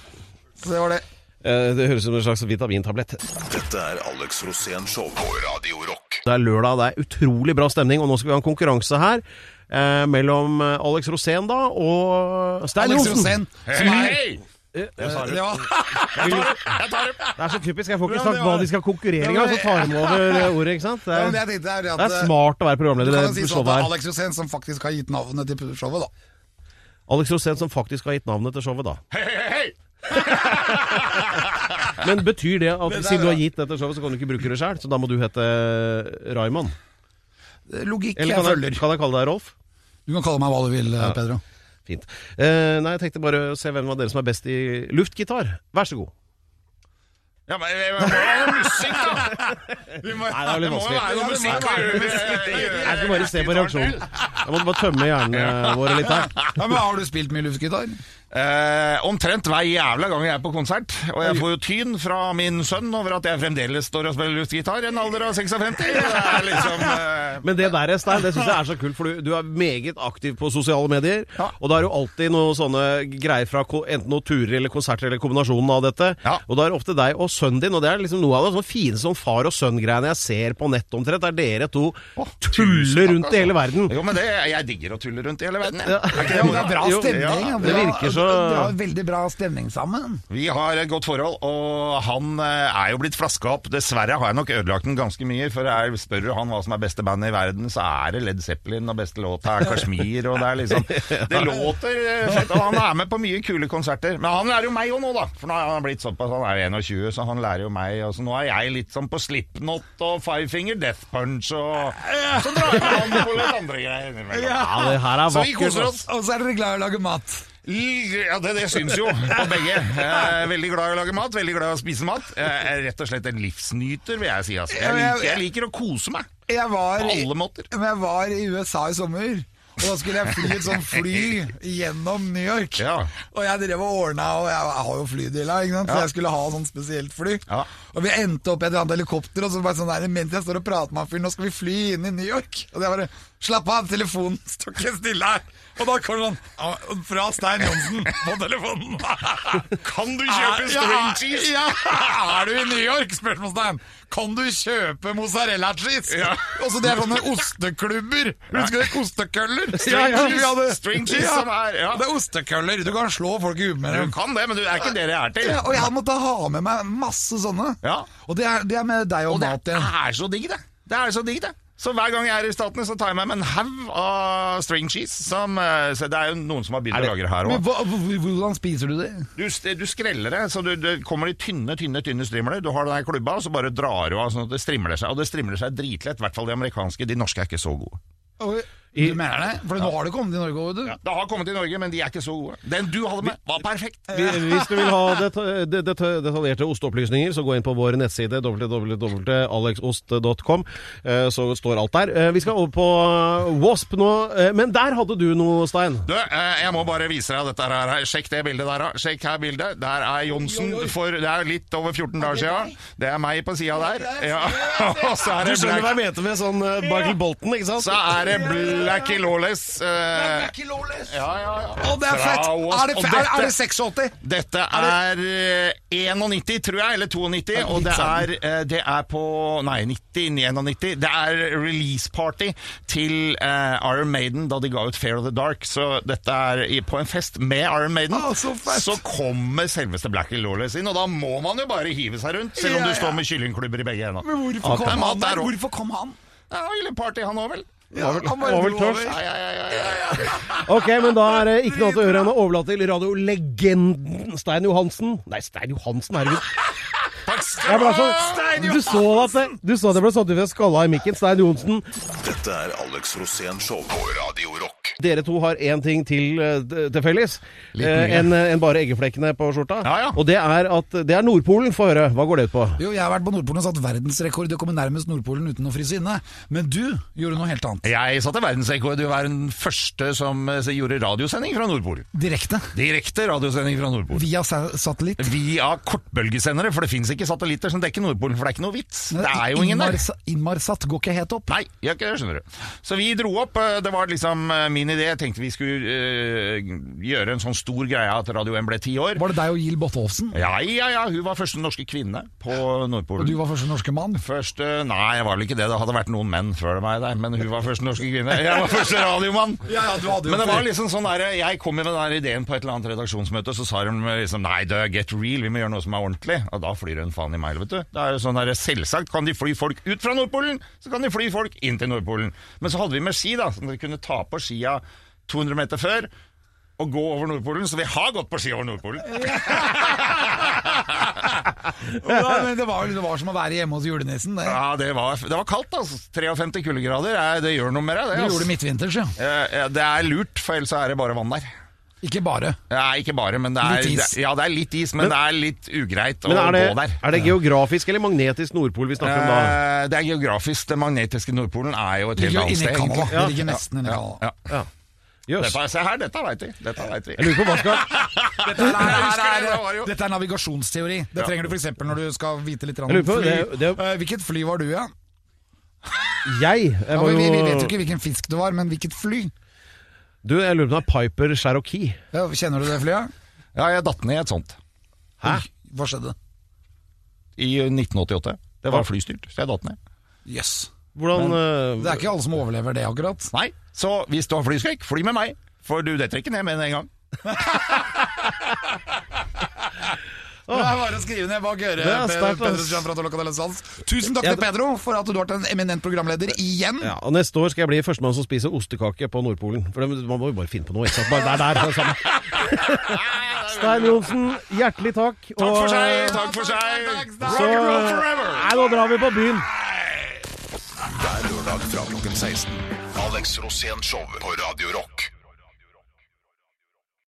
[SPEAKER 1] Så det var det.
[SPEAKER 2] Eh, Det høres ut som en slags vitamintablett.
[SPEAKER 3] Dette er Alex Rosén Show på Radio Rock.
[SPEAKER 2] Det er lørdag, det er utrolig bra stemning, og nå skal vi ha en konkurranse her. Eh, mellom eh, Alex Rosén da og Stein
[SPEAKER 1] Alex
[SPEAKER 2] Johnsen. Eh,
[SPEAKER 1] Rosén.
[SPEAKER 4] Hei!
[SPEAKER 1] Ja,
[SPEAKER 4] hei! Jeg tar det!
[SPEAKER 2] Det er så typisk. Jeg får ikke
[SPEAKER 1] Ja,
[SPEAKER 2] sagt
[SPEAKER 1] det
[SPEAKER 2] hva
[SPEAKER 1] var-
[SPEAKER 2] de skal konkurrere i,
[SPEAKER 1] Ja, men-
[SPEAKER 2] og så tar de over eh, ordet. ikke sant? Det
[SPEAKER 1] men det
[SPEAKER 2] er,
[SPEAKER 1] jeg tenkte er
[SPEAKER 2] det
[SPEAKER 1] at eh,
[SPEAKER 2] er smart å være
[SPEAKER 1] Du
[SPEAKER 2] programleder i
[SPEAKER 1] kan jo si sånn
[SPEAKER 2] det
[SPEAKER 1] at
[SPEAKER 2] showet
[SPEAKER 1] det er
[SPEAKER 2] her.
[SPEAKER 1] Alex Rosén som faktisk har gitt navnet til showet, da.
[SPEAKER 2] Alex Rosén som faktisk har gitt navnet til showet, da.
[SPEAKER 4] Hei, hei, hei!
[SPEAKER 2] Men betyr det at
[SPEAKER 1] det er
[SPEAKER 2] siden du har
[SPEAKER 1] bra.
[SPEAKER 2] gitt dette showet, så kan du ikke bruke det sjøl? Så da må du hete eh, Raymond?
[SPEAKER 1] Logikk jeg
[SPEAKER 2] Eller kan jeg,
[SPEAKER 1] følger.
[SPEAKER 2] kan jeg kalle deg Rolf?
[SPEAKER 1] Du kan kalle meg hva du vil, Pedro.
[SPEAKER 2] Fint. Eh, nei, jeg tenkte bare å se hvem av dere som er best i luftgitar. Vær så god.
[SPEAKER 4] Ja, men det må jo være musikk, da!
[SPEAKER 2] Nei, det er veldig
[SPEAKER 4] Det må jo
[SPEAKER 2] vanskelig.
[SPEAKER 4] være noe musikk å gjøre med- eh, gjøre-
[SPEAKER 2] Jeg skal bare se på reaksjonen. Jeg måtte bare tømme hjernen vår litt her.
[SPEAKER 1] Ja, men Har du spilt mye luftgitar?
[SPEAKER 4] Eh, omtrent hver jævla gang jeg er på konsert, og jeg får jo tyn fra min sønn over at jeg fremdeles står og spiller luftgitar i en alder av 56. Det er liksom eh,
[SPEAKER 2] Men det der, Stein, det syns jeg er så kult, for du, du er meget aktiv på sosiale medier.
[SPEAKER 4] Ja.
[SPEAKER 2] Og da er jo alltid noe sånne greier fra ko- enten noen turer eller konserter eller kombinasjonen av dette.
[SPEAKER 4] Ja.
[SPEAKER 2] Og da er det ofte deg og sønnen din, og det er liksom noe av det sånn fine sånn far og sønn-greiene jeg ser på nett omtrent. Det er dere to tuller rundt
[SPEAKER 4] altså.
[SPEAKER 2] i hele verden.
[SPEAKER 4] Jo, men det, jeg digger å tulle rundt i hele verden. jeg.
[SPEAKER 2] Ja.
[SPEAKER 4] Er ikke
[SPEAKER 1] Ja, men det er bra
[SPEAKER 2] Jo,
[SPEAKER 1] stemning.
[SPEAKER 4] ja,
[SPEAKER 1] ja.
[SPEAKER 2] det
[SPEAKER 1] Bra-
[SPEAKER 2] virker så-
[SPEAKER 1] Dere har veldig bra stemning sammen.
[SPEAKER 4] Vi har et godt forhold, og han eh, er jo blitt flaska opp. Dessverre har jeg nok ødelagt den ganske mye, for jeg spør jo han hva som er beste bandet i verden, så er det Led Zeppelin, og beste låta er Kashmir, og det er liksom Det låter eh, fett, og han er med på mye kule konserter. Men han lærer jo meg òg nå, da, for nå er han blitt såpass, han er jo 21, så han lærer jo meg. Og så nå er jeg litt sånn på Slipknot og Five Finger Death Punch, og så drar jeg med han på litt andre greier innimellom.
[SPEAKER 2] Ja, det her er
[SPEAKER 4] Så vi
[SPEAKER 2] vakkert.
[SPEAKER 4] koser
[SPEAKER 2] ass.
[SPEAKER 4] oss.
[SPEAKER 1] Og så er dere glad i å lage mat.
[SPEAKER 4] Ja, det, det syns jo på begge. Eh, veldig glad i å lage mat, veldig glad i å spise mat. Jeg er rett og slett en livsnyter, vil jeg si. Altså. Jeg, liker, jeg liker å kose meg
[SPEAKER 1] Jeg var,
[SPEAKER 4] på alle måter.
[SPEAKER 1] men jeg var i USA i sommer, og da skulle jeg fly et sånt fly gjennom New York.
[SPEAKER 4] Ja.
[SPEAKER 1] Og jeg drev og ordna, og jeg har jo flydilla, ikke sant? så
[SPEAKER 4] Ja.
[SPEAKER 1] jeg skulle ha sånn spesielt fly.
[SPEAKER 4] Ja.
[SPEAKER 1] Og vi endte opp i et eller annet helikopter, og så bare sånn der, mens jeg står og prater med han fyren, nå skal vi fly inn i New York. Og jeg bare Slapp av, telefonen står ikke stille her. Og da kommer han ah, fra Stein Johnsen på telefonen.
[SPEAKER 4] Kan du
[SPEAKER 1] Er-
[SPEAKER 4] kjøpe string cheese?
[SPEAKER 1] ja, ja, er du i New York? Spørsmålstegn. Kan du kjøpe mozzarella cheese?
[SPEAKER 4] Ja.
[SPEAKER 1] Og så det er sånne osteklubber. Husker dere ostekøller?
[SPEAKER 2] Ja, ja,
[SPEAKER 1] Vi hadde-
[SPEAKER 4] String cheese
[SPEAKER 1] Ja,
[SPEAKER 4] som er ja.
[SPEAKER 1] Det er ostekøller. Du kan slå folk i huet med
[SPEAKER 4] Du
[SPEAKER 1] dem.
[SPEAKER 4] kan det, men du det er ikke det det er til.
[SPEAKER 1] Ja, og jeg måtte ha med meg masse sånne.
[SPEAKER 4] Ja.
[SPEAKER 1] Og det er, det er med deg og,
[SPEAKER 4] Og
[SPEAKER 1] mat
[SPEAKER 4] det
[SPEAKER 1] igjen.
[SPEAKER 4] er så digg, det. Det er så digg, det. Så hver gang jeg er i Statene, så tar jeg med meg en haug av string cheese. Som, eh, så det er jo noen som har begynt å lage det her òg.
[SPEAKER 1] Men hva, hvor- hvordan spiser du det?
[SPEAKER 4] Du, st- du skreller det, så du, det kommer i tynne, tynne tynne strimler. Du har den her klubba, og så bare drar du av sånn at det strimler seg. Og det strimler seg dritlett, i hvert fall de amerikanske. De norske er ikke så gode.
[SPEAKER 1] Og-
[SPEAKER 2] I-
[SPEAKER 1] Du mener det? For nå har det kommet i Norge òg, du.
[SPEAKER 4] Det har kommet i Norge, men de er ikke så gode. Den du hadde med, var perfekt.
[SPEAKER 2] Hvis du vil ha deta- det- det- detaljerte osteopplysninger, så gå inn på vår nettside www.alexost.com. eh, Så står alt der. Eh, Vi skal over på Wasp nå, eh, men der hadde du noe, Stein.
[SPEAKER 4] Du, eh, jeg må bare vise deg dette her. her. Sjekk det bildet der, da. Sjekk her bildet. Der er Johnsen for Det er litt over 14 dager siden. Det er meg på sida der. Ja. Og så er det Black,
[SPEAKER 2] jeg mente med sånn Michael Bolton, ikke sant?
[SPEAKER 4] så er det Blackie Lawless. eh, Ja, ja, ja.
[SPEAKER 1] Å, det er
[SPEAKER 4] Fra
[SPEAKER 1] fett!
[SPEAKER 4] Wasp.
[SPEAKER 1] Er det,
[SPEAKER 4] Og
[SPEAKER 1] fe- er, er
[SPEAKER 4] dette-
[SPEAKER 1] det 86?
[SPEAKER 4] Dette er eh, 91, tror jeg, eller 92, og det er,
[SPEAKER 1] sånn.
[SPEAKER 4] eh, det er på Nei, 90, 91. Det er release-party til eh, Iron Maiden da de ga ut Fair of the Dark. Så dette er i- på en fest med Iron Maiden.
[SPEAKER 1] Å, så fett.
[SPEAKER 4] kommer selveste Blackie Lawless inn, og da må man jo bare hive seg rundt, selv om
[SPEAKER 1] Ja,
[SPEAKER 4] du
[SPEAKER 1] ja.
[SPEAKER 4] står med kyllingklubber i begge
[SPEAKER 1] Men
[SPEAKER 4] hendene.
[SPEAKER 1] hvorfor
[SPEAKER 4] Ok.
[SPEAKER 1] kom
[SPEAKER 4] Mat
[SPEAKER 1] han
[SPEAKER 4] der
[SPEAKER 1] der?
[SPEAKER 4] også.
[SPEAKER 1] Hvorfor kom han?
[SPEAKER 4] Ja, ville party, han òg, vel?
[SPEAKER 1] Ja, han bare
[SPEAKER 2] var vel
[SPEAKER 1] dro
[SPEAKER 2] tørst.
[SPEAKER 1] over.
[SPEAKER 4] Ja, ja, ja, ja, ja, ja.
[SPEAKER 2] Ok, men da er det ikke noe annet å gjøre enn å overlate til radiolegenden Stein Johansen. Nei, Stein Johansen, herregud.
[SPEAKER 4] Takk skal
[SPEAKER 2] Jeg
[SPEAKER 4] du
[SPEAKER 2] ble
[SPEAKER 4] ha!
[SPEAKER 2] så, du så at det, du så at jeg ble satt ut ved skalla i mikken. Stein Johansen.
[SPEAKER 3] Dette er Alex Rosén Show på Radio Rock.
[SPEAKER 2] Dere to har én ting til eh, d- til felles
[SPEAKER 1] Litt mye.
[SPEAKER 2] eh, enn en bare eggeflekkene på skjorta.
[SPEAKER 4] Ja, ja.
[SPEAKER 2] Og det er at det er Nordpolen. Få høre. Hva går det ut på?
[SPEAKER 1] Jo, jeg har vært på Nordpolen og satt verdensrekord i å komme nærmest Nordpolen uten å fryse inne. Men du gjorde noe helt annet.
[SPEAKER 4] Jeg satte verdensrekord i å være den første som eh, gjorde radiosending fra Nordpolen.
[SPEAKER 1] Direkte.
[SPEAKER 4] Direkte radiosending fra Nordpolen.
[SPEAKER 1] Via sa- satellitt.
[SPEAKER 4] Via kortbølgesendere, for det fins ikke satellitter som dekker Nordpolen. For det er ikke noe vits. Det er jo ingen der.
[SPEAKER 1] Innmarsa- Innmarsat går ikke helt opp.
[SPEAKER 4] Nei, gjør ikke det, skjønner du. Så vi dro opp. eh, Det var liksom eh, min idé. Jeg tenkte vi skulle eh, gjøre en sånn stor greie at Radio 1 ble ti år.
[SPEAKER 1] Var det deg og Jill Botolfsen?
[SPEAKER 4] Ja, ja, ja. Hun var første norske kvinne på
[SPEAKER 1] Og
[SPEAKER 4] Nordpolen.
[SPEAKER 1] du var første norske mann?
[SPEAKER 4] Første Nei, jeg var vel ikke det. Det hadde vært noen menn før meg der, men hun var første norske kvinne. Jeg var første radiomann.
[SPEAKER 1] Ja, ja, du hadde jo
[SPEAKER 4] men det
[SPEAKER 1] før.
[SPEAKER 4] var liksom sånn der, jeg kom med den der ideen på et eller annet redaksjonsmøte, så sa hun liksom Nei, det er get real, vi må gjøre noe som er ordentlig. Og da flyr hun faen i meg, vet du. Det er jo sånn der, Selvsagt kan de fly folk ut fra Nordpolen, så kan de fly folk inn til Nordpolen. Men så hadde vi med ski, da, så de kunne ta på skia 200 meter før. Og gå over Nordpolen, så vi har gått på ski over Nordpolen.
[SPEAKER 1] Ja, men det, var, det var som å være hjemme hos julenissen. Det,
[SPEAKER 4] Ja, Det var, det var kaldt, altså. 53 kuldegrader. eh, Det gjør noe med deg, det.
[SPEAKER 1] du
[SPEAKER 4] altså.
[SPEAKER 1] gjorde det midtvinters, ja.
[SPEAKER 4] Eh, eh, Det er lurt, for ellers så er det bare vann der.
[SPEAKER 1] Ikke bare.
[SPEAKER 4] Nei, ikke bare, men det er
[SPEAKER 1] Litt is.
[SPEAKER 4] det- Ja, det er litt is, men, det er litt ugreit
[SPEAKER 2] Men
[SPEAKER 4] å
[SPEAKER 2] er
[SPEAKER 4] gå
[SPEAKER 2] det,
[SPEAKER 4] der.
[SPEAKER 2] er det geografisk eller magnetisk Nordpol vi snakker om da?
[SPEAKER 4] Eh, det er geografisk. Den magnetiske Nordpolen er jo et
[SPEAKER 1] Det
[SPEAKER 4] helt
[SPEAKER 1] ligger
[SPEAKER 4] annet
[SPEAKER 1] jo
[SPEAKER 4] sted.
[SPEAKER 1] inne i Canada.
[SPEAKER 4] egentlig.
[SPEAKER 1] Det ligger nesten inne i Canada.
[SPEAKER 4] Ja.
[SPEAKER 2] Jøss.
[SPEAKER 4] Dette, se her, dette veit vi. Dette vet vi.
[SPEAKER 2] Jeg lurer på hva skal
[SPEAKER 1] Dette er,
[SPEAKER 4] Jeg husker det, det var jo-
[SPEAKER 1] dette er navigasjonsteori. Det trenger du f.eks. når du skal vite litt grann
[SPEAKER 2] Jeg
[SPEAKER 1] om
[SPEAKER 2] lurer på,
[SPEAKER 1] fly.
[SPEAKER 2] det- det-
[SPEAKER 1] Eh, Hvilket fly var du, ja?
[SPEAKER 2] Jeg, jeg
[SPEAKER 1] ja
[SPEAKER 2] var
[SPEAKER 1] men vi, vi vet jo
[SPEAKER 2] jo
[SPEAKER 1] ikke hvilken fisk du var, men hvilket fly?
[SPEAKER 2] Du, jeg lurer på om det er Piper Cherokee.
[SPEAKER 1] Ja, kjenner du det flyet?
[SPEAKER 4] Ja, jeg datt ned i et sånt
[SPEAKER 2] Hæ?
[SPEAKER 1] Oi, Hva skjedde?
[SPEAKER 4] i 1988. Det var flystyrt, så jeg datt ned.
[SPEAKER 1] Jøss.
[SPEAKER 2] Hvordan eh,
[SPEAKER 1] Det er ikke alle som overlever det, akkurat.
[SPEAKER 4] Nei, så hvis du har flyskrekk, fly med meg, for du detter ikke ned med en gang.
[SPEAKER 1] Det er bare å skrive ned bak øret, Pedro-
[SPEAKER 2] er sterkt, ass.
[SPEAKER 1] Pedro Gianfranco Locatellanzans. Tusen takk til Pedro for at du har vært en eminent programleder igjen.
[SPEAKER 2] Ja, og Neste år skal jeg bli førstemann som spiser ostekake på Nordpolen. For det, Man må jo bare finne på noe. Ikke sant? Bare der, der, det er samme. Stein Johnsen, hjertelig takk.
[SPEAKER 4] Takk for seg! Takk for seg! Rock
[SPEAKER 2] Så,
[SPEAKER 4] and roll forever!
[SPEAKER 2] nei, nå drar vi på byen.
[SPEAKER 3] Hver lørdag fra klokken 16. Alex Rosén Show på Radio Rock.